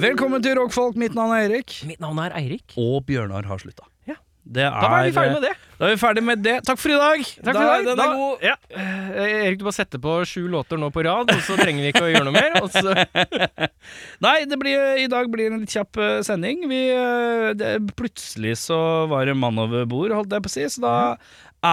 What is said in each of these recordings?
Velkommen til Rockfolk, mitt navn er Erik. Mitt navn er Eirik. Og Bjørnar har slutta. Ja. Det er, Da var vi ferdig med det. Da er vi ferdig med det. Takk for i dag! Takk for i dag. Den er god. Ja. Eh, Erik, du bare setter på sju låter nå på rad, og så trenger vi ikke å gjøre noe mer. Og så Nei, det blir, i dag blir det en litt kjapp eh, sending. Vi, eh, det, plutselig så var det mann over bord, holdt jeg på å si. Så da Mhm.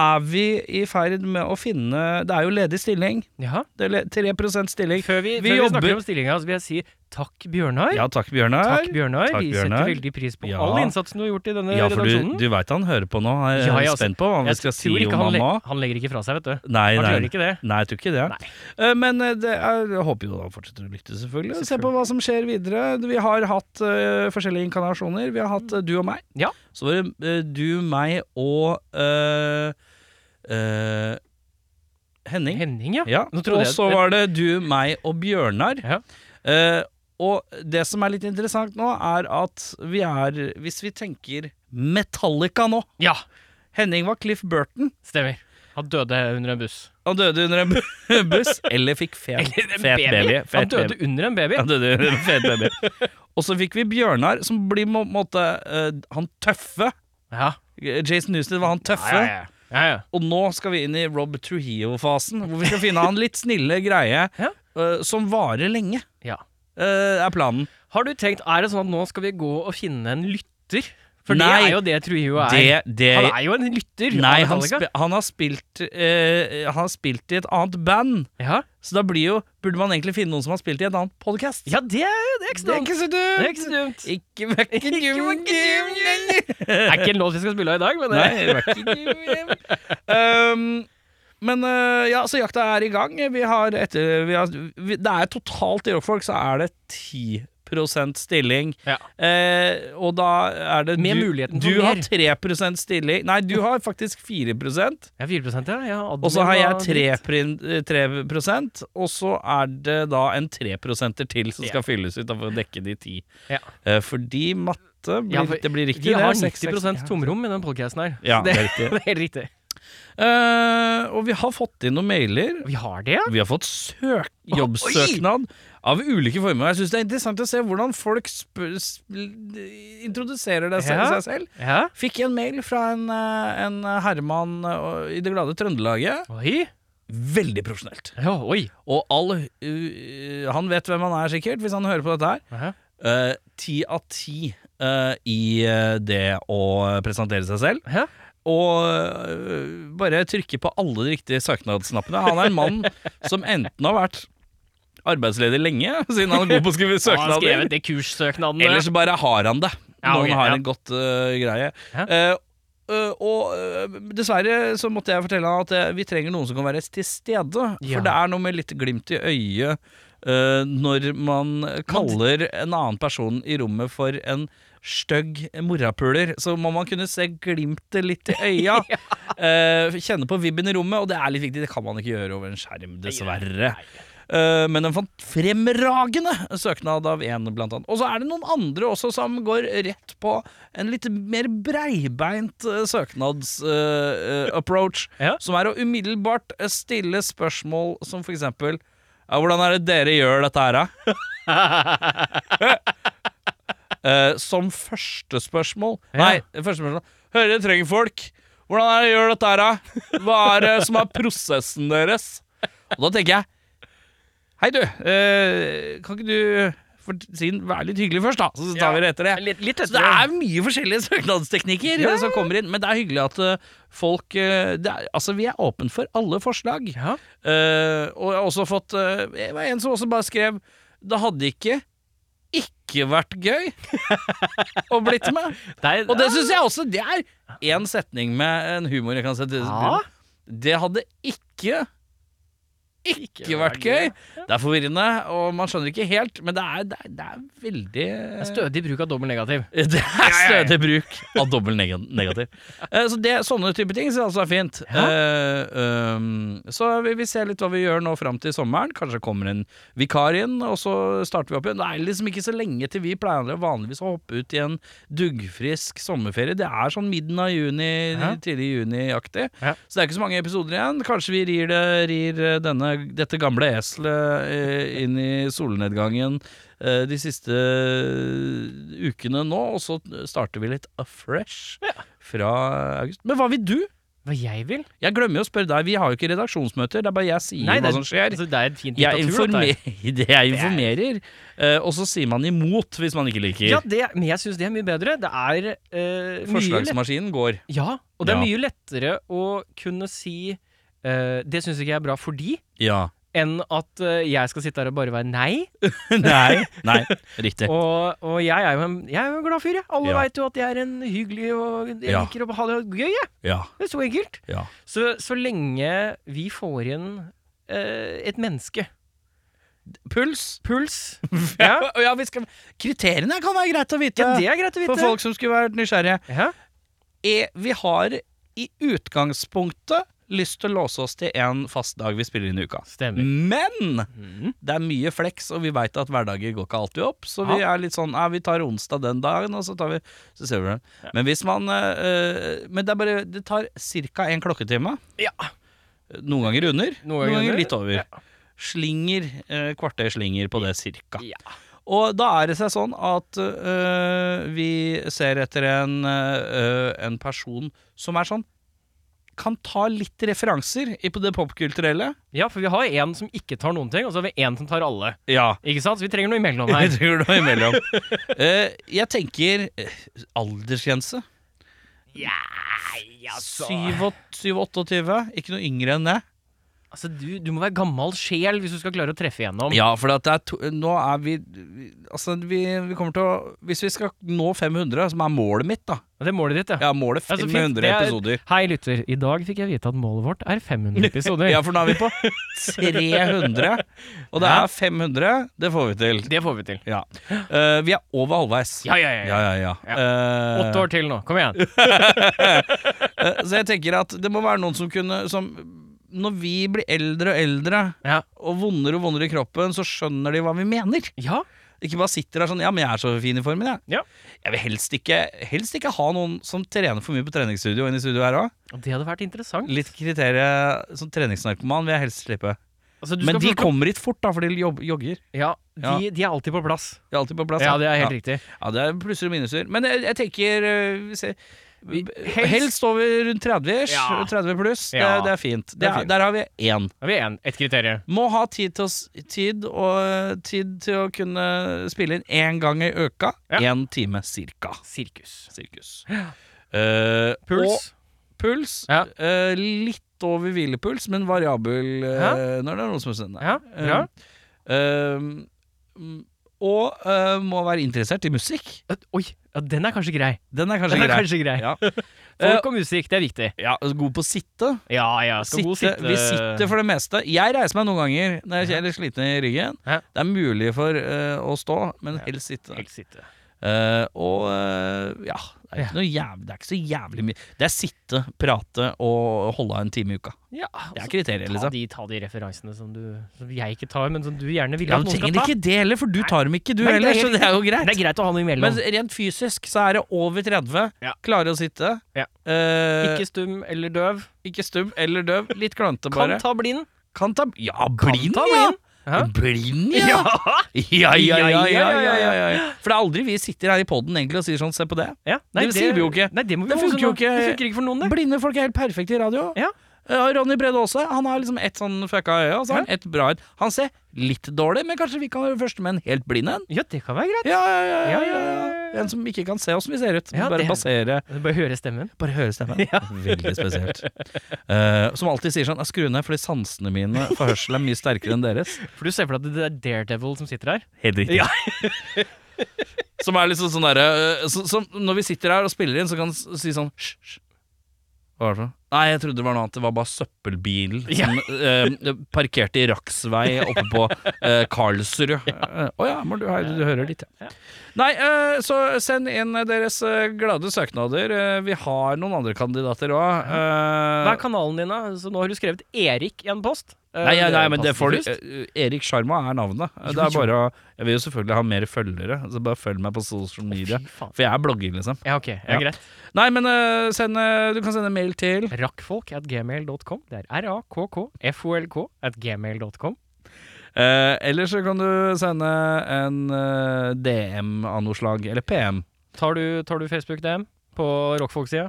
er vi i ferd med å finne Det er jo ledig stilling. Ja. Det er le- 3 stilling. Før vi, Vi før vi jobber- snakker om stillinga, så vil jeg si takk, Bjørnar. Ja, takk, Bjørnar. Takk, Bjørnar. Takk, vi Bjørnar. setter veldig pris på Ja. all innsatsen du har gjort i denne Ja, for du, redaksjonen. du veit han hører på nå. Jeg er Ja, ja, altså, spent på hva vi jeg skal si tror om ikke han, han le nå. han legger ikke fra seg, vet du. Nei, Han nei. gjør ikke det. Nei, jeg tror ikke det. Eh, Men eh, det er, jeg håper jo han fortsetter å lytte, selvfølgelig. Se på hva som skjer videre. Vi har hatt eh, forskjellige inkarnasjoner. Vi har hatt eh, du og meg. Ja. Så var det eh, du, meg og eh, eh, Henning. Henning, ja. Ja. Nå trodde Og jeg- så var det du, meg og Bjørnar. Ja. Eh, og det som er litt interessant nå, er at vi er Hvis vi tenker Metallica nå Ja, Henning var Cliff Burton. stemmer. Han døde under en buss. Han døde under en bu- buss, eller fikk fet, Eller en fet baby. Han Fet baby. døde under en baby. Ja, det, det, det, fet baby. Og så fikk vi Bjørnar, som blir på en måte eh, han tøffe. Ja. Jason Newsted var han tøffe. Ja, ja, ja. ja, ja. Og nå skal vi inn i Rob Trujillo-fasen, hvor vi skal finne han litt snille greie Ja. eh, som varer lenge, ja. eh, er planen. Har du tenkt, er det sånn at nå skal vi gå og finne en lytter? For Nei, det er jo det Trujillo er. Det, det Han er jo en lytter. av Nei, han, Metallica. spi- han, har spilt, eh, han har spilt i et annet band, ja. så da blir jo, burde man egentlig finne noen som har spilt i et annet podkast. ja, det er jo det er ikke så det er dumt. ikke så dumt! Det er ikke så dumt. Ikke vekke Ikke gum, vekke gum, Det er ikke en låt vi skal spille av i dag, men det Nei, det var ikke gym. um, men øh, ja, så jakta er i gang. Vi har etter vi har, vi, Det er totalt i Rockfolk, så er det 10 stilling. Ja. Eh, og da er det Med du, muligheten for du har mer. 3 stilling. Nei, du har faktisk 4 Og Jeg er 4 ja. ja så har jeg 3, prin- 3 og så er det da en 3 til som Ja. skal fylles ut da, for å dekke de 10. Ja. Eh, fordi matte blir, Ja, for Det blir riktig, Vi det. har Seks, seks, 90 ja. tomrom i den podcasten her. Ja, Så det det, er riktig. det er helt riktig. Eh, og vi har fått inn noen mailer. Vi har det, ja. Vi har fått søk jobbsøknad av ulike former. Jeg syns det er interessant å se hvordan folk sp sp- introduserer det seg, Ja. seg selv. ja. Fikk en mail fra en, eh, en Herman eh, i det glade Trøndelaget. Oi. Veldig profesjonelt. Ja, oi. Og all eh, Han vet hvem han er, sikkert, hvis han hører på dette her. Ja. Eh, Ti av ti eh, i eh, det å presentere seg selv. Ja. og øh, bare trykke på alle de riktige søknadsnappene. Han er en mann som enten har vært arbeidsledig lenge, siden han er god på å skrive Han har søknader, skrevet det kurssøknadene. eller så bare har han det. Ja, Noen ok, har ja. en godt øh, greie. Ja. Eh, øh, og øh, dessverre så måtte jeg fortelle han at eh, vi trenger noen som kan være til stede. Ja. For det er noe med litt glimt i øyet eh, når man kaller en annen person i rommet for en stygg morapuler. Så må man kunne se glimtet litt i øya. eh, kjenne på vibben i rommet, og det er litt viktig. Det kan man ikke gjøre over en skjerm, dessverre. Eh, men en fant- fremragende søknad av en, blant annet. Og så er det noen andre også som går rett på en litt mer breibeint eh, søknads-approach, Ja. som er å umiddelbart eh, stille spørsmål som for eksempel ja, Hvordan er det dere gjør dette her, da? Eh, som første spørsmål Ja. Nei, første spørsmål. Hører dere trenger folk? Hvordan er det dere gjør dette her, da? Hva er det som er prosessen deres? Og da tenker jeg Hei, du. eh, kan ikke du for, si, Vær litt hyggelig først, da, så tar Ja. vi det etter det. Litt, litt Så det er mye forskjellige søknadsteknikker Ja. som kommer inn, men det er hyggelig at eh, folk eh, det er, Altså, vi er åpen for alle forslag. Ja. Eh, og jeg har også fått eh, Det var en som også bare skrev Det hadde ikke ikke vært gøy å blitt med. Det er- Og det syns jeg også. Det er én setning med en humor jeg kan sette Ja. Det hadde ikke ikke vært gøy. Det er forvirrende, og man skjønner ikke helt, men det er, det er, det er veldig Det er Stødig bruk av dobbel negativ. det er stødig bruk av dobbel neg negativ. Eh, Så det, sånne type ting syns jeg altså er fint. Eh, um, så vi, vi ser litt hva vi gjør nå fram til sommeren. Kanskje kommer en vikar inn, og så starter vi opp igjen. Det er liksom ikke så lenge til vi pleier å vanligvis å hoppe ut i en duggfrisk sommerferie. Det er sånn midten av juni, Ja. tidlig juni-aktig. Ja. Så det er ikke så mange episoder igjen. Kanskje vi rir, det, rir eh, denne, dette gamle eselet eh, inn i solnedgangen eh, de siste eh, ukene nå, og så starter vi litt afresh fra august. Men hva vil du? Hva jeg vil? Jeg glemmer jo å spørre deg, vi har jo ikke redaksjonsmøter, det er bare jeg sier Nei, hva det, som skjer. altså, det er et fint Jeg, diktatur. dette her. informer, det jeg informerer, eh, og så sier man imot hvis man ikke liker. Ja, det, men jeg syns det er mye bedre. Det er eh, mye lett, Forslagsmaskinen går. Ja, og det Ja. er mye lettere å kunne si eh, Det syns ikke jeg er bra fordi, Ja. enn at eh, jeg skal sitte her og bare være nei. Nei. Nei, riktig. Og, og jeg er jo en, jeg er jo en glad fyr, jeg. Alle Ja. veit jo at jeg er en hyggelig og jeg Ja. liker å ha det gøy, jeg. Ja. Det er så enkelt. ja. Så, så lenge vi får inn eh, et menneske Puls. Puls. Ja. Ja, vi skal... Kriteriene kan være greit å vite. ja, det er greit å vite. For folk som skulle vært nysgjerrige. Ja. Er, vi har i utgangspunktet lyst til å låse oss til en fast dag vi spiller inn i uka. Stemmer. Men Mm. det er mye fleks, og vi veit at hverdager går ikke alltid opp. Så vi Ja. er litt sånn ja, vi tar onsdag den dagen, og så tar vi Så ser vi den. Men hvis man eh, eh, Men det er bare Det tar ca. en klokketime. Ja. Noen ganger under, Noen ganger under, litt over. Slinger, eh, kvarter slinger på det cirka. Ja. Og da er det seg sånn at øh, vi ser etter en, øh, en person som er sånn Kan ta litt referanser i på det popkulturelle. ja, for vi har én som ikke tar noen ting, og så har vi én som tar alle. Ja. Ikke sant? Så vi trenger noe imellom Jeg her. tror det var imellom. Eh, jeg tenker eh, aldersgrense. Ja, Syv. 27-28, ikke noe yngre enn det. Altså, du, du må være gammel sjel hvis du skal klare å treffe igjennom. Ja, for at det er to, nå er vi vi- Altså, vi, vi kommer til å Hvis vi skal nå 500, som er målet mitt, da Det er målet ditt, ja. Ja, målet Ja, så fint. 500 Det er- episoder. Hei, lytter. I dag fikk jeg vite at målet vårt er 500 episoder. Ja, for nå er vi på 300. Og det Ja. er 500. Det får vi til. Det får vi til. Ja. Eh, vi er over halvveis. Ja, ja, ja. ja. ja, ja. Ja. Eh, Åtte år til nå. Kom igjen. eh, så jeg tenker at det må være noen som kunne som, Når vi blir eldre og eldre Ja. og vondere og vondere i kroppen, så skjønner de hva vi mener. ja. Ikke bare sitter der sånn 'ja, men jeg er så fin i formen', jeg. Ja. Jeg vil helst ikke, helst ikke ha noen som trener for mye på treningsstudio enn i studio her òg. Det hadde vært interessant. Litt kriterier som treningsnarkoman vil jeg helst slippe. Altså, du Men skal de plukke opp- kommer hit fort, da, for de jobb- jogger. Ja, de, de er alltid på plass. De er alltid på plass. Ja, det er helt ja. riktig. Ja, det er plusser og minuser. Men jeg, jeg tenker øh, vi ser, Vi- helst, over rundt 30 ish. Ja. 30 pluss. Ja. Det, det er fint. Det Det er er, fint. der har vi én. Da har vi én. Ett kriterium. Må ha tid til å, s- tid og, øh, tid til å kunne spille inn én gang i uka. Ja. Én time cirka. Sirkus. Sirkus. Eh, Puls. Og puls. Ja. eh, litt over hvilepuls, men variabel eh, når det er noen som er sende. Ja, bra. og eh, må være interessert i musikk. Oi, ja, den er kanskje grei. Den er kanskje Den er grei. kanskje grei. Ja. Eh, Folk og musikk, det er viktig. Ja, altså, god på å sitte. Ja, ja. Skal sitte. god sitte. Vi sitter for det meste. Jeg reiser meg noen ganger når jeg er litt sliten i ryggen. Ja. Det er mulig for eh, å stå, men Ja. helst sitte. Helt sitte. Eh, og eh, ja, det er, ikke noe jævlig, det er ikke så jævlig mye. Det er sitte, prate og holde av en time i uka. Ja, altså, Det er kriteriet, Ta liksom. de, ta de referansene som, du, som jeg ikke tar, men som du gjerne vil Ja, at du noen skal trenger ta. ikke det heller, for du tar dem ikke, du Nei, det er heller. Så helt det er jo Det er greit. greit å ha noe imellom. Men rent fysisk så er det over 30. Ja. Klare å sitte. Ja. Eh, ikke stum eller døv. ikke stum eller døv. Litt klønete, Kan bare. ta blind. Kan ta Ja, blind, ta ja! blind. Hæ? Blind, ja! Ja. Ja, ja, ja, ja, Ja, ja, ja, ja, ja. For det er aldri vi sitter her i poden egentlig og sier sånn, se på det. Ja, Det sier vi jo ikke. Nei, det må vi Det funker jo funker ikke. Det funker ikke for noen, det. Blinde folk er helt perfekte i radio. Ja. Eh, og Ronny Brede Aase han har liksom ett sånn fucka øye, og så har han ett bra et. Han ser litt dårlig, men kanskje vi kan være første med en helt blind en? Ja, det kan være greit. Ja, ja, ja, ja, Ja, ja, ja, ja, ja. En som ikke kan se åssen vi ser ut. Ja, bare det- basere Bare høre stemmen. Bare høre stemmen. Veldig spesielt. Eh, som alltid sier sånn, jeg skru ned fordi sansene mine for hørsel er mye sterkere enn deres. For du ser for deg at det er Daredevil som sitter her. Helt riktig. som er liksom sånn derre øh, så, som Når vi sitter her og spiller inn, så kan han s- si sånn Hysj, hysj. Hva var det for noe? Nei, jeg trodde det var noe annet. Det var bare søppelbilen som øh, parkerte i Raksvei oppe på øh, Karlsrud. Eh, Å ja. men du, her- du hører litt, ja. Nei, øh, så send inn deres øh, glade søknader. Eh, vi har noen andre kandidater eh. òg. Hva er kanalen din, da? Så nå har du skrevet Erik i en post. Eh, Nei, nei, det er nei, jo men det passende får du først. eh, Erik Sharma er navnet. Det er Jo, jo. bare å Jeg vil jo selvfølgelig ha mer følgere, så bare følg meg på sosiale medier. Fy faen. For jeg er blogger, liksom. Ja, ok. Ja, Ja. greit. Nei, men eh, send, eh, du kan sende mail til Rakkfolk at gmail.com. Det er r-a-k-k-f-o-l-k at gmail.com. Eh, eller så kan du sende en eh, DM av noe slag, eller PM. Tar du, tar du Facebook DM på rockfolk-sida?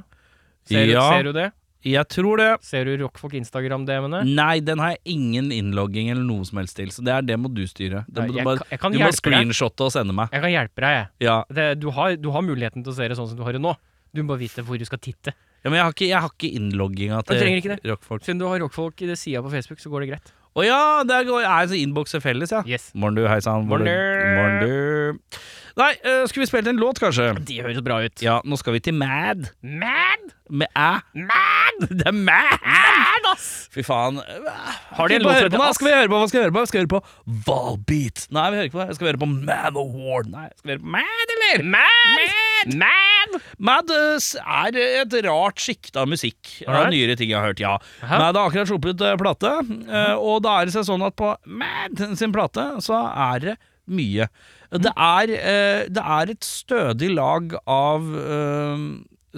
Ser, du- Ja. ser du det? Jeg tror det. Ser du rockfolk Instagram-DM-ene? Nei, den har jeg ingen innlogging eller noe som helst til, så det er det må du styre. Det må du Jeg, bare, kan- jeg kan du må hjelpe deg. screenshotte og sende meg. Jeg kan hjelpe deg, jeg. Ja. Det, du, har, du har muligheten til å se det sånn som du har det nå. Du må bare vite hvor du skal titte. ja, men jeg har ikke, jeg har ikke innlogginga Du trenger ikke til det. rockfolk. Siden du har rockfolk i det sida på Facebook, så går det greit. Å ja, der går er altså innbokser felles, ja. Yes. Morn du, hei sann. Morn du. Morn du. Nei, eh, skulle vi spilt en låt, kanskje? Det høres bra ut. Ja, nå skal vi til Mad. Mad! Med æ. Mad! Det er Mad! Mad, ass! Fy faen. Har de en låt som heter Hva Ass? skal vi høre på? Hva skal vi høre på? Skal vi høre på Valbeat? Nei, vi hører ikke på det. Skal vi høre på Man of War? Nei, skal vi høre på Mad, eller? Mad! Mad! Mad eh, s- er et rart sjikt av musikk. Av Alright. nyere ting jeg har hørt, ja. Aha. Mad har akkurat sluppet eh, plate, eh, og da er det seg sånn at på Mad sin plate så er det mye. Mm. Det er, eh, det er et stødig lag av uh,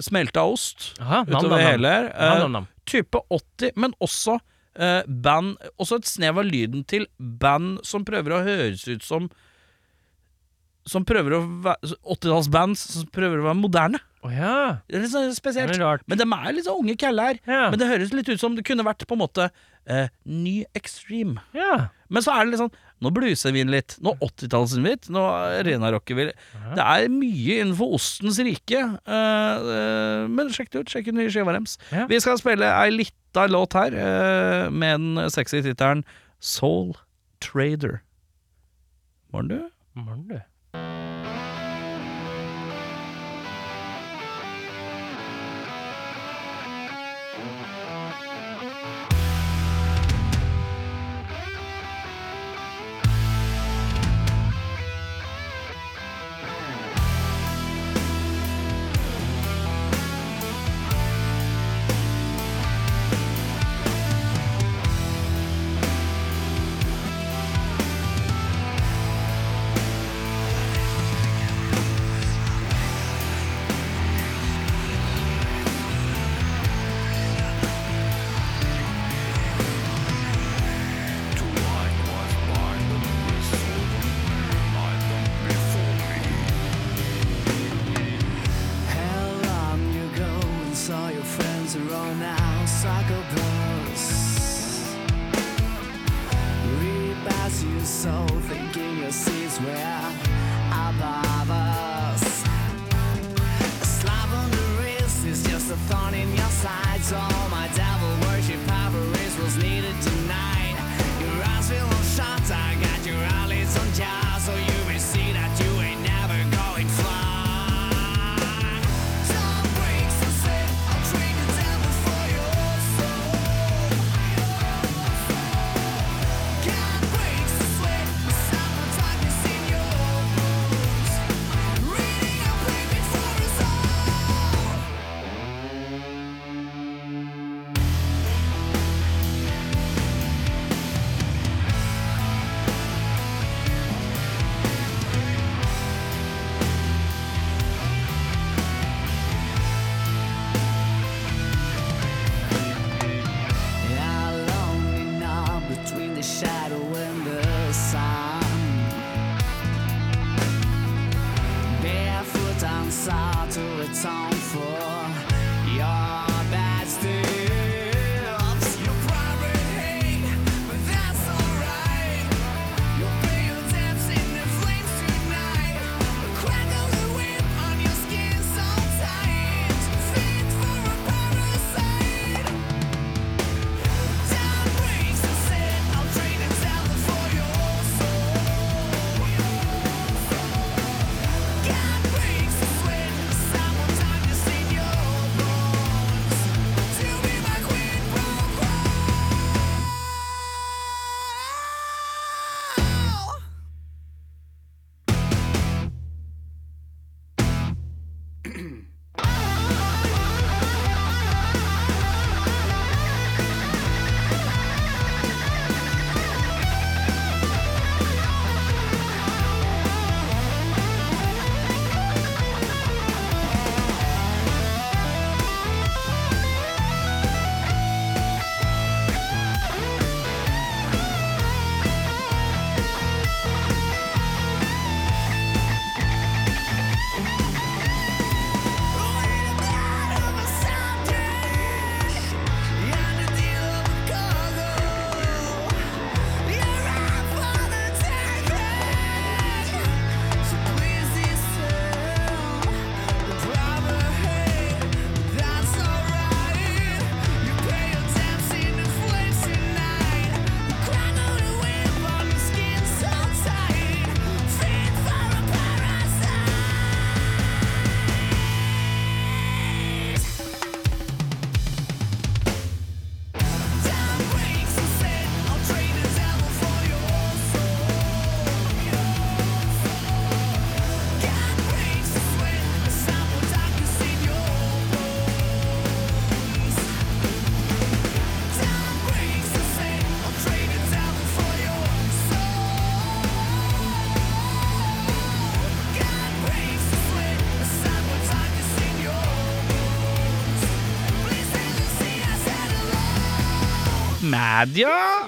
smelta ost Aha, nam, nam, utover nam. hele her. Nam, Eh, nam, nam. type 80, men også eh, band Også et snev av lyden til band som prøver å høres ut som Som prøver å være 80-tallsband som prøver å være moderne. Å ja. Det er litt sånn Det spesielt. er rart. Men de er litt sånn unge kæller. Ja. Men det høres litt ut som det kunne vært på en måte eh, ny extreme. ja. Men så er det litt sånn Nå bluser vi inn litt. Nå 80-tallet litt. Nå arenarocker vi litt. Det er mye innenfor ostens rike. eh, eh, men sjekk det ut. Sjekk ut nye skiva deres. Ja. Vi skal spille ei lita låt her eh, med den sexy tittelen Soul Trader. Morn, du. Morn, du. How long you go and saw your friends are all now soccer balls? Rebounds your soul, thinking your seats were above us. A slap on the wrist is just a thorn in your side. So all my devil worship avarice was needed tonight. Your eyes feel on shut, I got your eyelids on jar, so you may see that you ain't never going fly. Time breaks the set, I'll trade the devil for your soul. God breaks the sweat, the summer darkness in your bones. Reading a payment for us all. Yeah, lonely now between the shadow and the sun. Barefoot and sad to atone for your bad steps. You probably hate, but that's alright. You'll pay your debts in the flames tonight. A crack of the whip on your skin so tight. Fit for a parasite. Time breaks the set. I'll trade the talent for your soul. God breaks the sweat. Someone time to Mad, ja.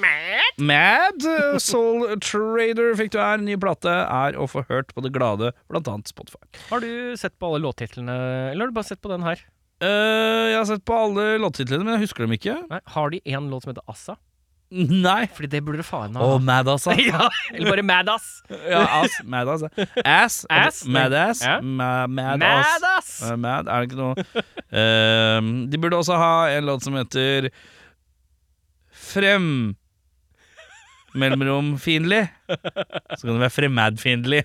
Mad? eh, Soul Trader fikk du her. Ny plate er å få hørt på det glade, blant annet Spotify. Har du sett på alle låttitlene, eller har du bare sett på den her? Eh, jeg har sett på alle låttitlene, men jeg husker dem ikke. Nei, Har de én låt som heter Assa? Nei. Fordi det burde du faen Å, ha. mad, altså. ja, eller bare Mad Ass. Ja, ass. Mad, altså. Ass. Ass? Mad ass. Ja. Ma- Mad, ass. Mad Ass! Eh, Mad, er det ikke noe Ehm, De burde også ha en låt som heter Frem Mellomrom fiendtlig. Så kan det være Fremad-fiendtlig.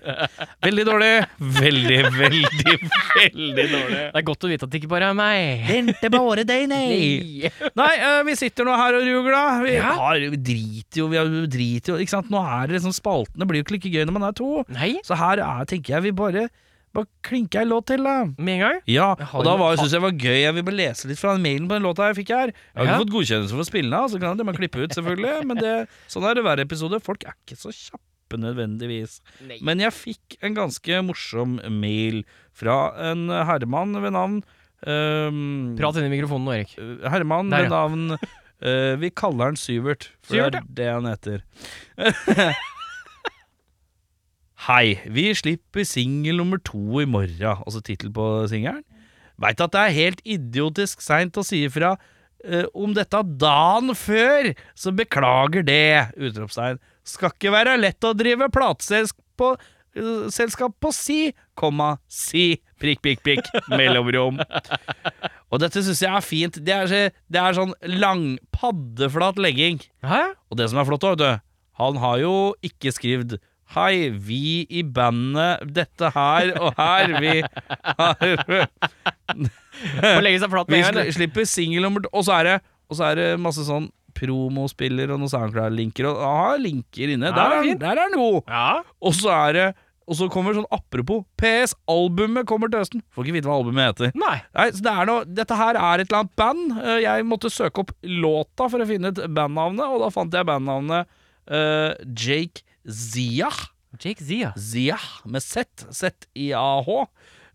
Veldig dårlig. Veldig, veldig, veldig dårlig. Det er godt å vite at det ikke bare er meg. Vente bare deg, Nei, eh, vi sitter nå her og ruger, da. Vi, Ja. har, vi driter jo, vi har, vi driter jo, ikke sant. Nå er det liksom spaltene blir jo ikke like gøy når man er to. Nei, Så her er, tenker jeg vi bare, bare klinker en låt til, da. med en gang. Ja, Jeg har og da jo- var, synes jeg var gøy Jeg vil bare lese litt fra den mailen på den låta jeg fikk her Jeg har ikke Ja. fått godkjennelse for å spille den av, Så kan jeg det man klippe ut selvfølgelig Men det, sånn er det hver episode Folk er ikke så kjappe nødvendigvis Nei. Men jeg fikk en ganske morsom mail Fra en herremann ved navn ehm, Prat inn i mikrofonen nå, Erik. Herremann Der, ved navn eh, Vi kaller han Syvert For det Syvert, er det han heter Hei, vi slipper singel nummer to i morgen Altså titel på singelen Veit at det er helt idiotisk seint å si ifra eh, om dette dagen før, så beklager det! Utropstegn. Skal ikke være lett å drive plateselskap på, eh, selskap på si, komma, si, prikk, prikk, prikk, mellomrom. Og dette syns jeg er fint. Det er, så- det er sånn lang, paddeflat legging. Hæ? Og det som er flott, da, vet du Han har jo ikke skrevet Hei, vi i bandet, dette her og her, vi har Må legge seg flat Vi med en sli- gang. slipper singel nummer Og så er det Og så er det masse sånn promospiller og noen SoundCloud-linker og han har linker inne. Ja, Der er, fint. der er noe! Ja. Og så er det Og så kommer sånn apropos PS, albumet kommer til høsten. Får ikke vite hva albumet heter. Nei. Nei, så det er noe, Dette her er et eller annet band. Eh, Jeg måtte søke opp låta for å finne ut bandnavnet, og da fant jeg bandnavnet eh, Jake Ziah. Jake Zia. Ziah med Z. Z-I-A-H.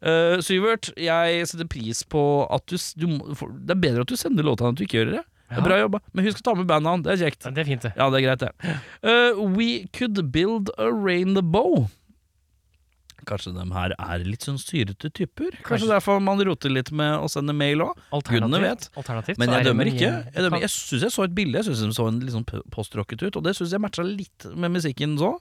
Eh, Syvert, jeg setter pris på at du, s- du må- for- Det er bedre at du sender låta enn at du ikke gjør det. Det Ja. er Bra jobba. Men husk å ta med bandnavn. Det er kjekt. Det er fint, det. Ja, det er greit, det. Eh, we could build a rainbow. Kanskje de her er litt sånn syrete typer? Kanskje Kanskje. derfor man roter litt med å sende mail òg? Gudene vet. Alternativt Men så er jeg det dømmer en ikke. gjeng- Jeg, dømmer. jeg syns jeg så et bilde. Jeg syns de så en litt sånn p- postrocket ut, og det syns jeg matcha litt med musikken så.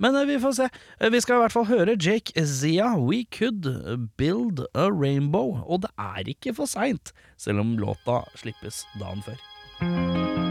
Men eh, vi får se. Eh, Vi skal i hvert fall høre Jake Zia, We Could Build a Rainbow. Og det er ikke for seint, selv om låta slippes dagen før.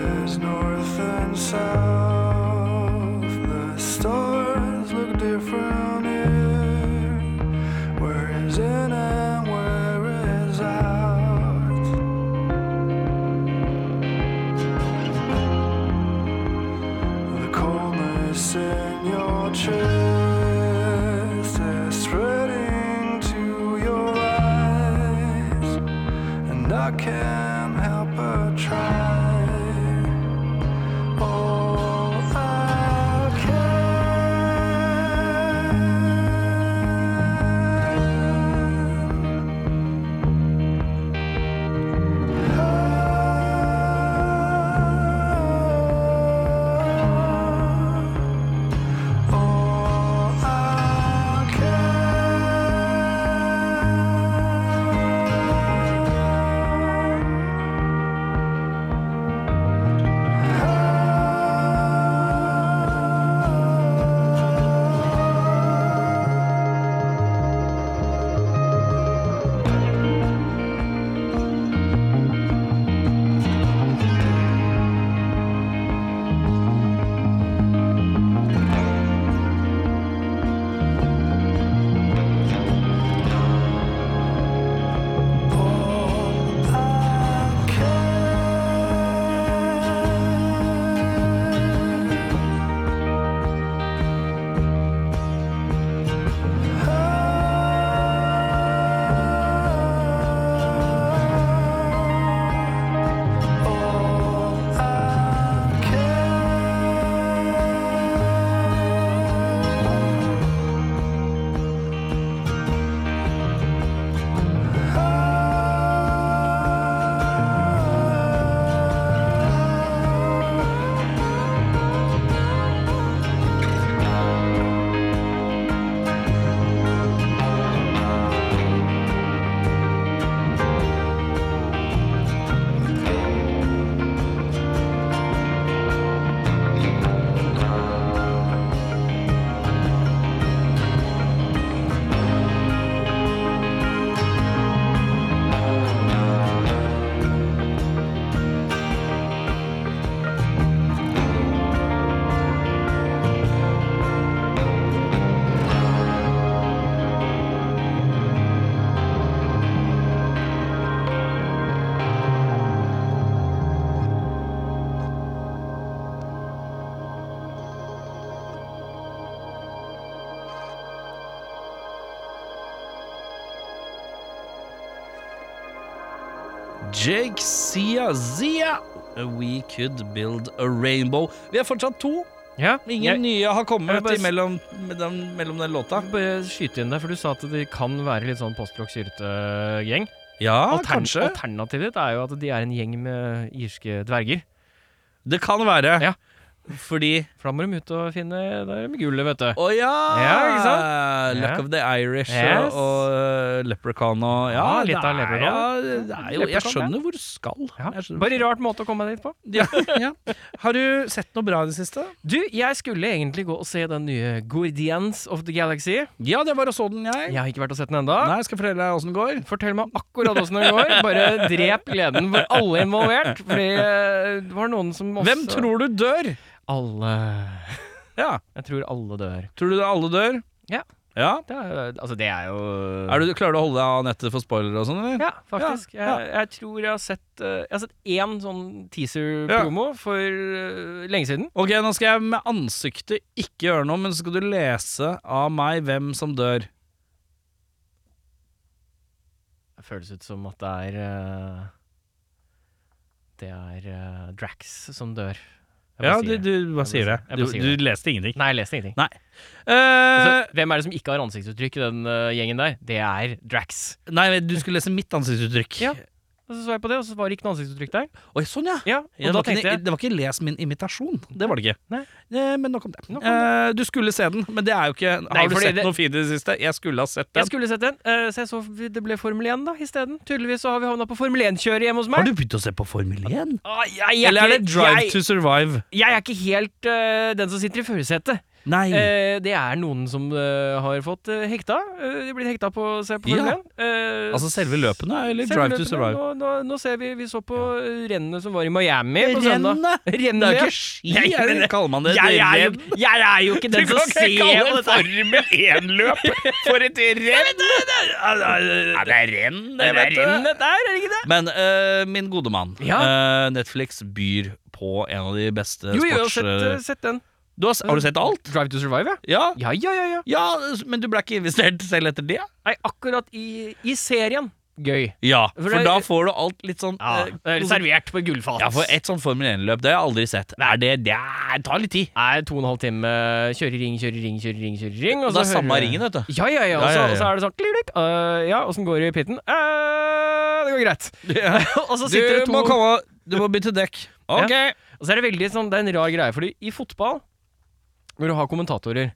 down south. The stars look different here. Where is in and where is out? The coldness in your chest is spreading to your eyes, and I can't help but try. All I can. All I can. Jake Sia Zia, We Could Build a Rainbow. Vi er fortsatt to. Ja, Ingen jeg- nye har jeg kommet vil bare s- imellom, med den, mellom den låta. Jeg vil Bare skyte inn der, for du sa at de kan være litt sånn postblokk-syrete gjeng. Ja, Altern- kanskje. Alternativet er jo at de er en gjeng med irske dverger. Det kan være. Ja. Fordi For da må de ut og finne det med gullet, vet du. Å ja! Ja, ikke sant? Luck Ja. of the Irish Yes. og, og Leprechaun og Ja, Ja, litt av det er- Leprechaun. Ja, det er jo, jeg Leprechaun, ja. skjønner hvor du skal. Ja. Jeg skjønner hvor Bare rart måte å komme dit på. du skal. ja, ja. Har du sett noe bra i det siste? Du, jeg skulle egentlig gå og se den nye Guardians of the Galaxy. Ja, det var og så den, jeg. Ah. Jeg har ikke vært og sett den enda. Nei, jeg skal fortelle deg åssen det går. Fortell meg akkurat åssen det går. Bare drep gleden for alle involvert. Fordi eh, det var noen som også Hvem tror du dør? Alle. Ja. Jeg tror alle dør. Tror du det alle dør? Ja. ja. Det er, altså, det er jo Er du, klarer du å holde deg av nettet for spoilere og sånn, eller? Ja, faktisk. Ja, ja. Jeg, jeg tror jeg har sett eh, Jeg har sett én sånn teaser-promo for eh, lenge siden. Ok, nå skal jeg med ansiktet ikke gjøre noe, men så skal du lese av meg hvem som dør. Det føles ut som at det er eh, Det er eh, Drax som dør. Jeg bare Ja, sier du, det. du hva sier det? Jeg bare Du, sier du leste ingenting. Nei, jeg leste ingenting. Eh, Altså, hvem er det som ikke har ansiktsuttrykk i den eh, gjengen der? Det er Drax. nei, men du skulle lese mitt ansiktsuttrykk. Ja. Og så så jeg på det, og så var det ikke noe ansiktsuttrykk der. Oi, sånn, ja. Ja, og Ja, det, da var ikke, tenkte jeg det var ikke les min imitasjon. Det var det ikke. Nei. Eh, men nok om det. Nok om det. Eh, du skulle se den, men det er jo ikke Har Nei, du fordi sett det- noe fint i det siste? Jeg skulle ha sett den. jeg skulle sett den, eh, så jeg så det ble Formel 1 da isteden. Tydeligvis så har vi havna på Formel 1-kjøret hjemme hos meg. Har du begynt å se på Formel 1? Ah, jeg, jeg, Eller er det Drive jeg, to Survive? jeg er ikke helt eh, den som sitter i førersetet. Nei! Eh, det er noen som eh, har fått eh, hekta. Eh, de er blitt hekta på å se på Ja. Formel 1. Eh, altså selve løpene, eller selve Drive to løpene. Survive? Nå, nå, nå ser vi Vi så på eh, rennene som var i Miami på søndag. Det er jo Rennet! ikke ski, Nei, er men det, det- kaller man det? Jeg Det er, renn. jo, jeg er jo ikke den som ser på dette! Formel 1-løp for et renn! Ja, det er renn, Det er rennet der, er det ikke det? Men eh, min gode mann, Ja. eh, Netflix byr på en av de beste Jo, jeg har sports... sett, eh, sett den. du har, har du sett alt? Drive to Survive, ja. Ja. Ja, ja, ja. ja. ja, men du ble ikke investert selv etter det? Nei, akkurat i, i serien. Gøy. Ja, For for det- da får du alt litt sånn eh, Eh, servert på gullfat. Ja, for et sånn Formel 1-løp, det har jeg aldri sett. Er det, det er, tar litt tid. Nei, to og en halv time kjøre ring, kjøre ring, kjøre ring. kjøre ring Det og så er samme hører- ringen, vet du. Ja, ja, ja. Og Ja, så, ja, ja. og så er det sånn klilikk, øh, Ja, åssen går det i pitten? Eh, det går greit. og så sitter det to komme, du må bytte dekk. Ok. Og så er det veldig sånn Det er en rar greie, fordi i fotball, når du har kommentatorer,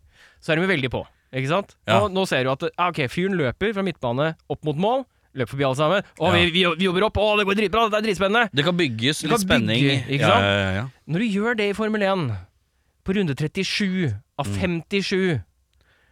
så er de veldig på, ikke sant? Ja. Nå, nå ser du at ah, Ok, fyren løper fra midtbane opp mot mål, løper forbi alle sammen. Å, Ja. vi, vi, vi jobber opp! Å, det går dritbra! Dette er dritspennende! Det kan bygges Det litt kan spenning. bygge, ikke sant? Ja, ja, ja, ja. Når du gjør det i Formel 1, på runde 37 av Mm. 57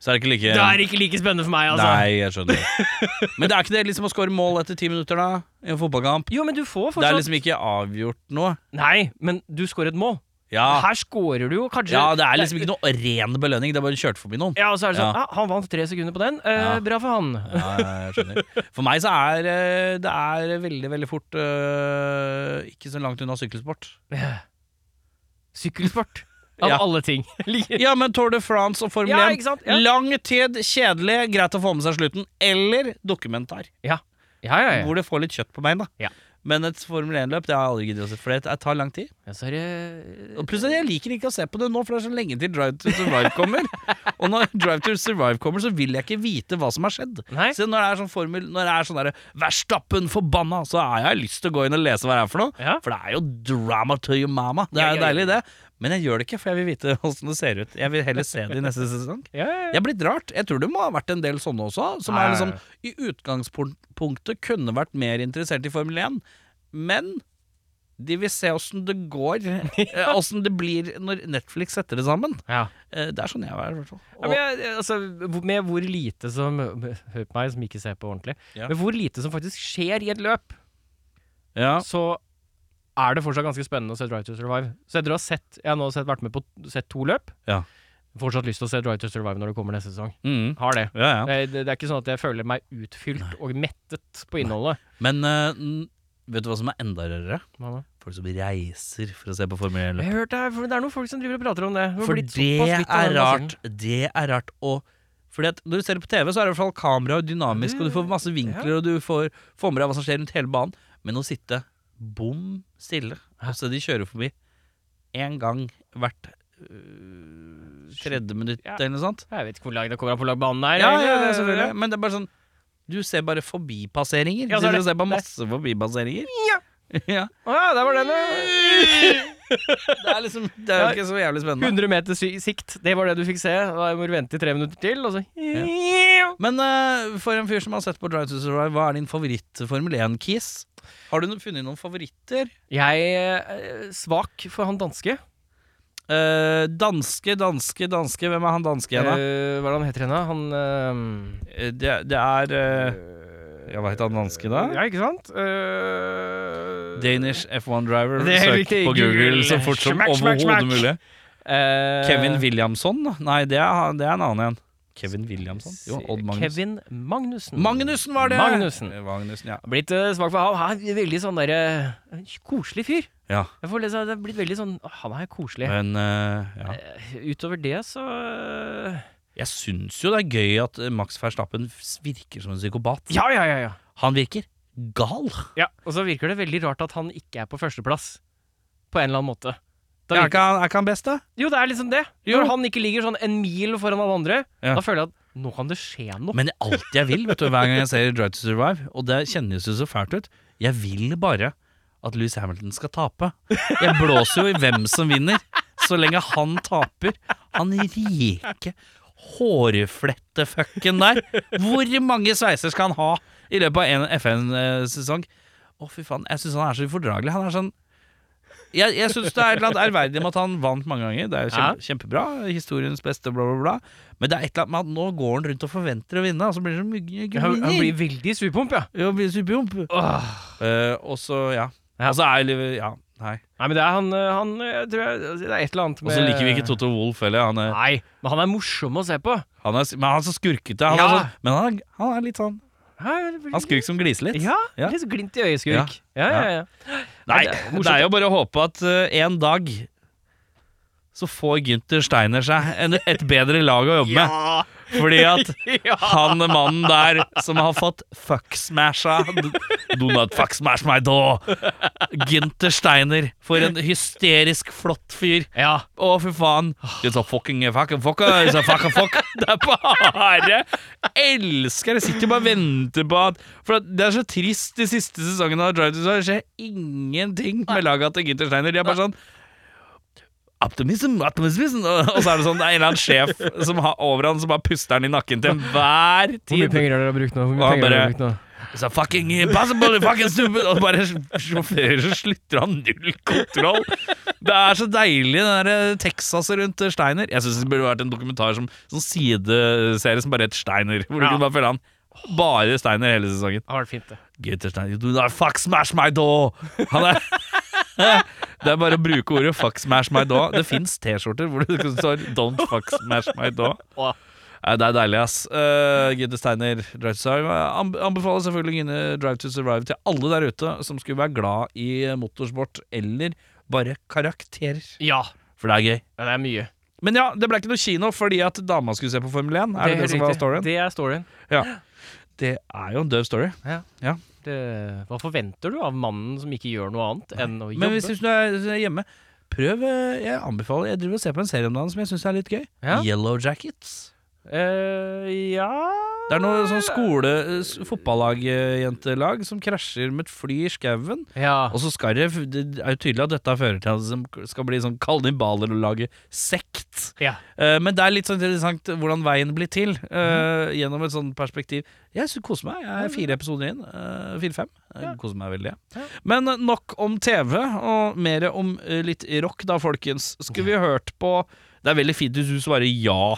Så er det ikke like Det er ikke like spennende for meg, altså. Nei, jeg skjønner. Men det er ikke det liksom å score mål etter ti minutter, da? I en fotballkamp? Jo, men du Det får er fortsatt liksom ikke avgjort noe. Nei, men du scorer et mål. Ja, Her scorer du jo kanskje ja det er liksom ikke noe ren belønning. Det er bare kjørt forbi noen. Ja, og så er det sånn Ja. ah, Han vant tre sekunder på den. Eh, Ja. Bra for han. Ja, jeg skjønner. For meg så er eh, det er veldig, veldig fort eh, ikke så langt unna sykkelsport. Sykkelsport. Av Ja. alle ting. Like- Ja, men Tour de France og Formel 1 Ja, ikke sant? Ja. Lang tid, kjedelig, greit å få med seg slutten. Eller dokumentar, ja, ja, ja. hvor det får litt køtt på beina. Ja. Men et Formel 1-løp det har jeg aldri giddet å se, for det det tar lang tid. ja så er det Og plutselig, Jeg liker ikke å se på det nå, for det er så lenge til Drive to Survive kommer. og når Drive to Survive kommer, så vil jeg ikke vite hva som har skjedd. Nei. Så når det er sånn formel Når det er sånn derre 'Verstappen forbanna', så har jeg lyst til å gå inn og lese hva det er for noe. Ja. For det er jo drama to your mama. Det Ja, er jo ja, ja. deilig, det. Men jeg gjør det ikke, for jeg vil vite åssen det ser ut. Jeg vil heller se det i neste sesong. Ja, ja, Jeg er blitt rart. Jeg tror det må ha vært en del sånne også, som Ja, er ja, liksom ja. i utgangspunktet kunne vært mer interessert i Formel 1, men de vil se åssen det går, eh, åssen det blir når Netflix setter det sammen. ja. Eh, Det er sånn jeg er, i hvert fall. Ja, men jeg, altså, hvor- med hvor lite som Hør på meg, som ikke ser på ordentlig. Ja. Men hvor lite som faktisk skjer i et løp, ja. så er det fortsatt ganske spennende å se Drive to Survive. Så etter å ha sett Jeg har nå sett, vært med på sett to løp. Ja. Fortsatt lyst til å se Drive to Survive når det kommer neste sesong. Mm. Har det. ja, ja. Det, det, det er ikke sånn at jeg føler meg utfylt og mettet på innholdet. Men eh, n- vet du hva som er enda rarere? Folk som reiser for å se på Formel 1. Jeg har hørt det, er- for det er noen folk som driver og prater om det. har For blitt det såpass litt av er den rart. Det er rart å fordi at Når du ser det på TV, så er det i hvert fall kamera og dynamisk, og du Mm, får masse vinkler, og du får, får med deg hva som skjer rundt hele banen. Men å sitte bom stille og se de kjører forbi én gang hvert øh, tredje minutt Ja. eller noe sånt Jeg vet ikke hvor langt det kommer an på hvor lang banen er. ja, egentlig. ja, ja, selvfølgelig. Men det er bare sånn Du ser bare forbipasseringer. Ja, Ja, så er du det- ser på masse forbipasseringer. Ja. Å ja, der var den, ja. Det er liksom Det er jo ikke så jævlig spennende. 100 meter sy- sikt, det var det du fikk se. Da må du vente i tre minutter til, og så Men eh, for en fyr som har sett på Drive to Survive, hva er din favoritt-Formel 1-kis? Har du no funnet noen favoritter? Jeg er svak for han danske. Eh, danske, danske, danske. Hvem er han danske igjen, da? Eh, hva er det han heter henne? Han eh, Eh, det, det er eh, Ja, hva heter han danske, da? Ja, ikke sant? Eh, Danish F1-driver. Det er helt Søk riktig. på Google Google. så fort som Smack, smack, smack. overhodet mulig. eh, Kevin Williamson? da? Nei, det er, han- det er en annen en. Kevin Williamson? Jo, Odd Magnus. Kevin Magnussen. Magnussen var det! Magnussen. Eh, Magnussen, ja. Blitt eh, svak for han. Han er veldig sånn derre Koselig fyr. ja. Jeg får lese, det er blitt veldig sånn «Å, Han er koselig. Men eh, ja. Eh, Utover det, så eh, Jeg syns jo det er gøy at eh, Max Verstappen s- virker som en psykopat. Ja, ja, ja. ja. Han virker gal. ja. Og så virker det veldig rart at han ikke er på førsteplass. På en eller annen måte. Da Er virker, ikke han, er ikke han best, da? jo, det er liksom det. Jo. Når han ikke ligger sånn en mil foran alle andre, Ja. da føler jeg at nå kan det skje noe. Men alt jeg vil, vet du, hver gang jeg ser Drive to Survive, og det kjennes jo så fælt ut, jeg vil bare at Louis Hamilton skal tape. Jeg blåser jo i hvem som vinner, så lenge han taper. Han rike hårflettefucken der. Hvor mange sveiser skal han ha i løpet av en FN-sesong? Å, fy faen. Jeg syns han er så ufordragelig. Han er sånn Jeg, jeg syns det er et eller annet ærverdig med at han vant mange ganger. Det er jo kjempe, kjempebra. Historiens beste, bla, bla, bla. Men det er et eller annet med at nå går han rundt og forventer å vinne, og så blir det så mye Han, han gubiner. blir veldig surpomp, ja. Ja, blir superjomp. Åh. Eh, og så, ja. Ja. Og så er livet Ja, nei. Nei, men det er han, eh, han eh, jeg tror jeg, Det er et eller annet Og med så liker vi ikke Toto Wolff heller. Han er, Nei, men han er morsom å se på. han er, men han er så skurkete. Han er Ja. sånn, men han er, han er litt sånn Han skurk som gliser litt. Ja, Ja. litt sånn glimt i øyet-skurk. Ja. Ja, ja, ja. Nei, Nei, det er morsomt. det er jo bare å håpe at eh, en dag så får Günther Steiner seg en, et bedre lag å jobbe med. Ah. Fordi at Ja. han mannen der som har fått fucksmasha d- Do not fucksmash my door. Günther Steiner. For en hysterisk flott fyr. ja. Å, fy faen. It's a fucking fucking fucker. It's a fucking fuck. Det er bare Elsker det. Sitter bare og venter på at For at det er så trist de siste sesongene av Drive to Survive. Det skjer ingenting med laga til Ginter Steiner. De er bare sånn Optimism, optimism Og og så er det sånn Det er en eller annen sjef som har over han som bare puster han i nakken til enhver Hvor mye tid. penger har dere brukt nå? Hvor Ja, mye penger har dere bare- brukt nå? It's a fucking impossible, fucking stupid Og bare sjåfører så slutter han null kontroll Det er så deilig Den der eh, Texas rundt Steiner Jeg synes det burde vært en dokumentar som Sånn sideserie som bare heter Steiner Hvor du Ja. kunne bare følge han Bare Steiner hele sesongen Ah, Det har vært fint, det. Gutter Steiner You do not fuck smash my door Han er Det er bare å bruke ordet fuck smash my door Det finnes t-skjorter hvor det står Don't fuck smash my door Åh. Nei, Det er deilig, ass. Uh, Gidde Steiner, Drive to Survive. Anb- Anbefaler selvfølgelig Gine Drive to Survive til alle der ute som skulle være glad i motorsport eller bare karakterer. Ja. For det er gøy. ja, det er mye. Men ja, det ble ikke noe kino fordi at dama skulle se på Formel 1. Er det det, helt som var riktig. storyen? Det, Det er storyen. er jo en døv story. Det, hva forventer du av mannen som ikke gjør noe annet enn å jobbe? Men hvis, hvis du er, hvis du er hjemme, prøv eh, Jeg anbefaler Jeg driver og ser på en serie om dagen som jeg syns er litt gøy. Ja. Yellow Jackets. Eh, ja Det er noe sånn skole... s- fotballagjentelag som krasjer med et fly i skauen. Ja. Og så skal det, det er jo tydelig at dette fører til at det skal bli sånn kannibaler og lage sekt. ja. Eh, men det er litt sånn interessant hvordan veien blir til, eh, Mhm. gjennom et sånt perspektiv. Jeg sy- koser meg. Jeg er fire episoder inn. eh, Fire-fem. Jeg Koser meg veldig. jeg. Ja. Men eh, nok om TV, og mer om eh, litt rock, da, folkens. Skulle vi hørt på Det er veldig fint hvis du svarer ja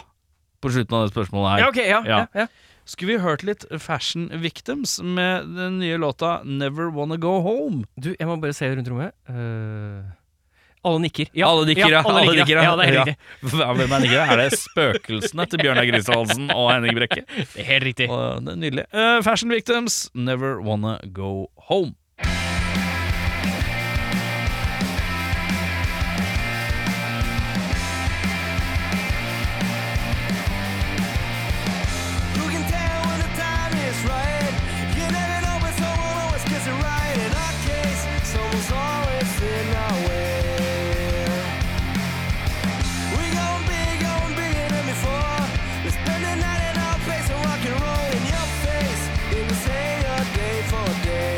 på slutten av det spørsmålet her. Ja, ok, ja, ja. Ja. ja, Skulle vi hørt litt Fashion Victims med den nye låta Never Wanna Go Home? Du, jeg må bare se rundt rommet. Eh, alle nikker. Ja, alle nikker, ja. alle nikker, ja. Ja, det er helt riktig. Ja. Hvem er nikker? Er det spøkelsene til Bjørnar Grisvoldsen og Henning Brekke? Det er Helt riktig. Og det er nydelig. Eh, fashion Victims, Never Wanna Go Home. Who can tell when the time is right? You never know, but someone always gets it right. In our case, someone's always in our way. We going big, going bigger than before. We spend the night in our place and rock and roll in your face. It was say your day for day.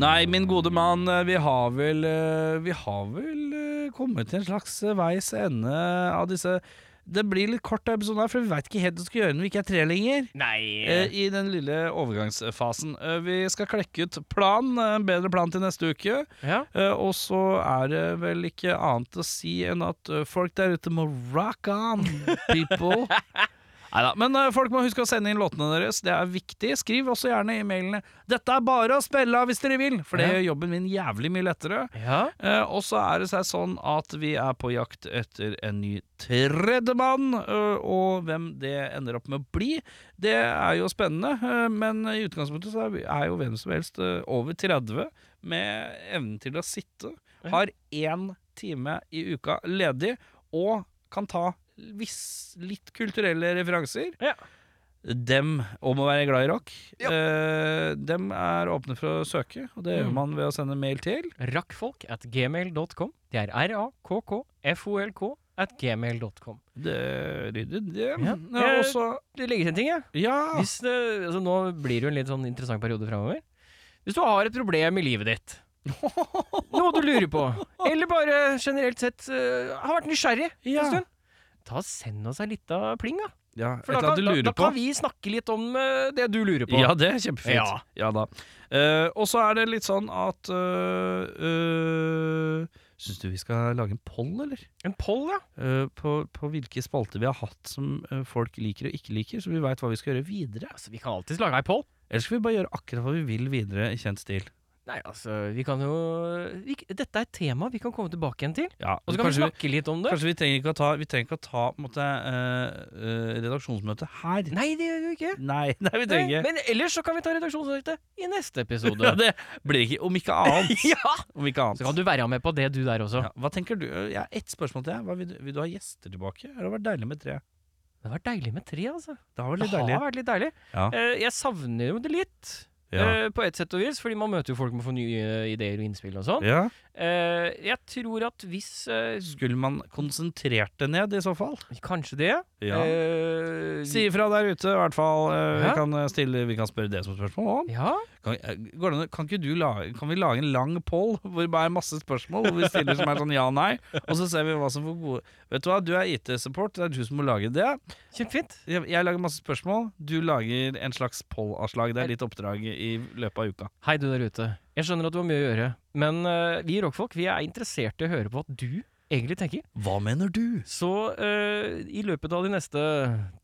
Nei, min gode mann, eh, vi har vel eh, Vi har vel eh, kommet til en slags eh, veis ende av disse Det blir litt kort episode her, for vi veit ikke helt hva vi skal gjøre når vi ikke er tre lenger. Nei! eh, I den lille overgangsfasen. Eh, Vi skal klekke ut plan, eh, en bedre plan til neste uke. ja. Eh, Og så er det vel ikke annet å si enn at eh, folk der ute må rock on, people. Neida, Men eh, folk må huske å sende inn låtene deres. Det er viktig. Skriv også gjerne i mailene. Dette er bare å spille av hvis dere vil, for det Ja. gjør jobben min jævlig mye lettere. ja. Eh, og så er det seg sånn at vi er på jakt etter en ny tredjemann, eh, og hvem det ender opp med å bli, det er jo spennende. eh, men i utgangspunktet så er, vi, er jo hvem som helst eh, over 30 med evnen til å sitte, har én time i uka ledig, og kan ta viss, litt kulturelle referanser. Ja. Dem, om å være glad i rock, eh, dem er åpne for å søke, og det gjør Mm. man ved å sende mail til. Rakkfolk at gmail.com. Det er r-a-k-k-f-o-l-k at gmail.com. Det rydder det. Ja. Ja. Eh, og så Det legges en ting, jeg. Ja! Hvis det, altså, nå blir det jo en litt sånn interessant periode framover. Hvis du har et problem i livet ditt, noe du lurer på, eller bare generelt sett eh, har vært nysgjerrig Ja. en stund, ta og send oss ei lita pling, da. ja et For eller da annet du kan, da, lurer da kan på. vi snakke litt om eh, det du lurer på. Ja, det er kjempefint. Ja. da. Eh, og så er det litt sånn at uh, Syns du vi skal lage en poll, eller? En poll, ja. Eh, på, på hvilke spalter vi har hatt som eh, folk liker og ikke liker, så vi veit hva vi skal gjøre videre. Altså, vi kan alltids lage ei poll. Eller skal vi bare gjøre akkurat hva vi vil videre, i kjent stil? Nei, altså, vi kan jo vi, Dette er et tema vi kan komme tilbake igjen til. Ja, Og så kan vi kanskje, vi, snakke litt om det. kanskje vi trenger ikke å ta, vi trenger ikke å ta på en måte, eh, eh, redaksjonsmøte her. Nei, det gjør vi ikke. Nei, nei, vi trenger ikke. Men ellers så kan vi ta redaksjonsmøte i neste episode. Ja, det blir ikke Om ikke annet. ja! Om ikke annet. Så kan du være med på det, du der også. ja, hva tenker du? Ja, ett spørsmål til. deg. Hva vil, du, vil du ha gjester tilbake? Det hadde vært deilig med tre. Det har vært deilig med tre, altså. Det har vært Det litt har deilig. vært litt deilig. Ja. Eh, jeg savner jo det litt, Ja. eh, på et sett og vis, fordi man møter jo folk med for nye eh, ideer og innspill og sånn. Ja. Eh, jeg tror at hvis eh, Skulle man konsentrert det ned, i så fall? Kanskje det. Eh, Si ifra der ute, i hvert fall. Eh, Vi Ja. kan, eh, stille, vi kan spørre det som spørsmål òg. Ja. Kan, eh, går det an å- kan, ikke du lage, kan vi lage en lang poll hvor det bare er masse spørsmål, hvor vi stiller som er sånn ja nei, og så ser vi hva som får gode Vet du hva, du er IT-support, det er du som må lage det. Kjempefint. Jeg, jeg lager masse spørsmål, du lager en slags poll-avslag. Det er ditt oppdrag i løpet av uka. Hei, du der ute. Jeg skjønner at du har mye å gjøre, men eh, vi rockfolk vi er interessert i å høre på hva du egentlig tenker. Hva mener du? Så eh, i løpet av de neste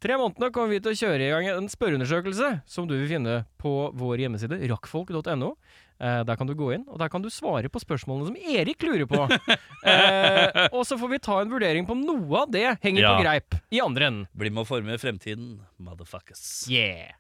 tre månedene kommer vi til å kjøre i gang en spørreundersøkelse som du vil finne på vår hjemmeside rockfolk.no. Eh, der kan du gå inn, og der kan du svare på spørsmålene som Erik lurer på. Eh, og så får vi ta en vurdering på om noe av det henger Ja. på greip i andre enden. Bli med å forme fremtiden, motherfuckers. Yeah!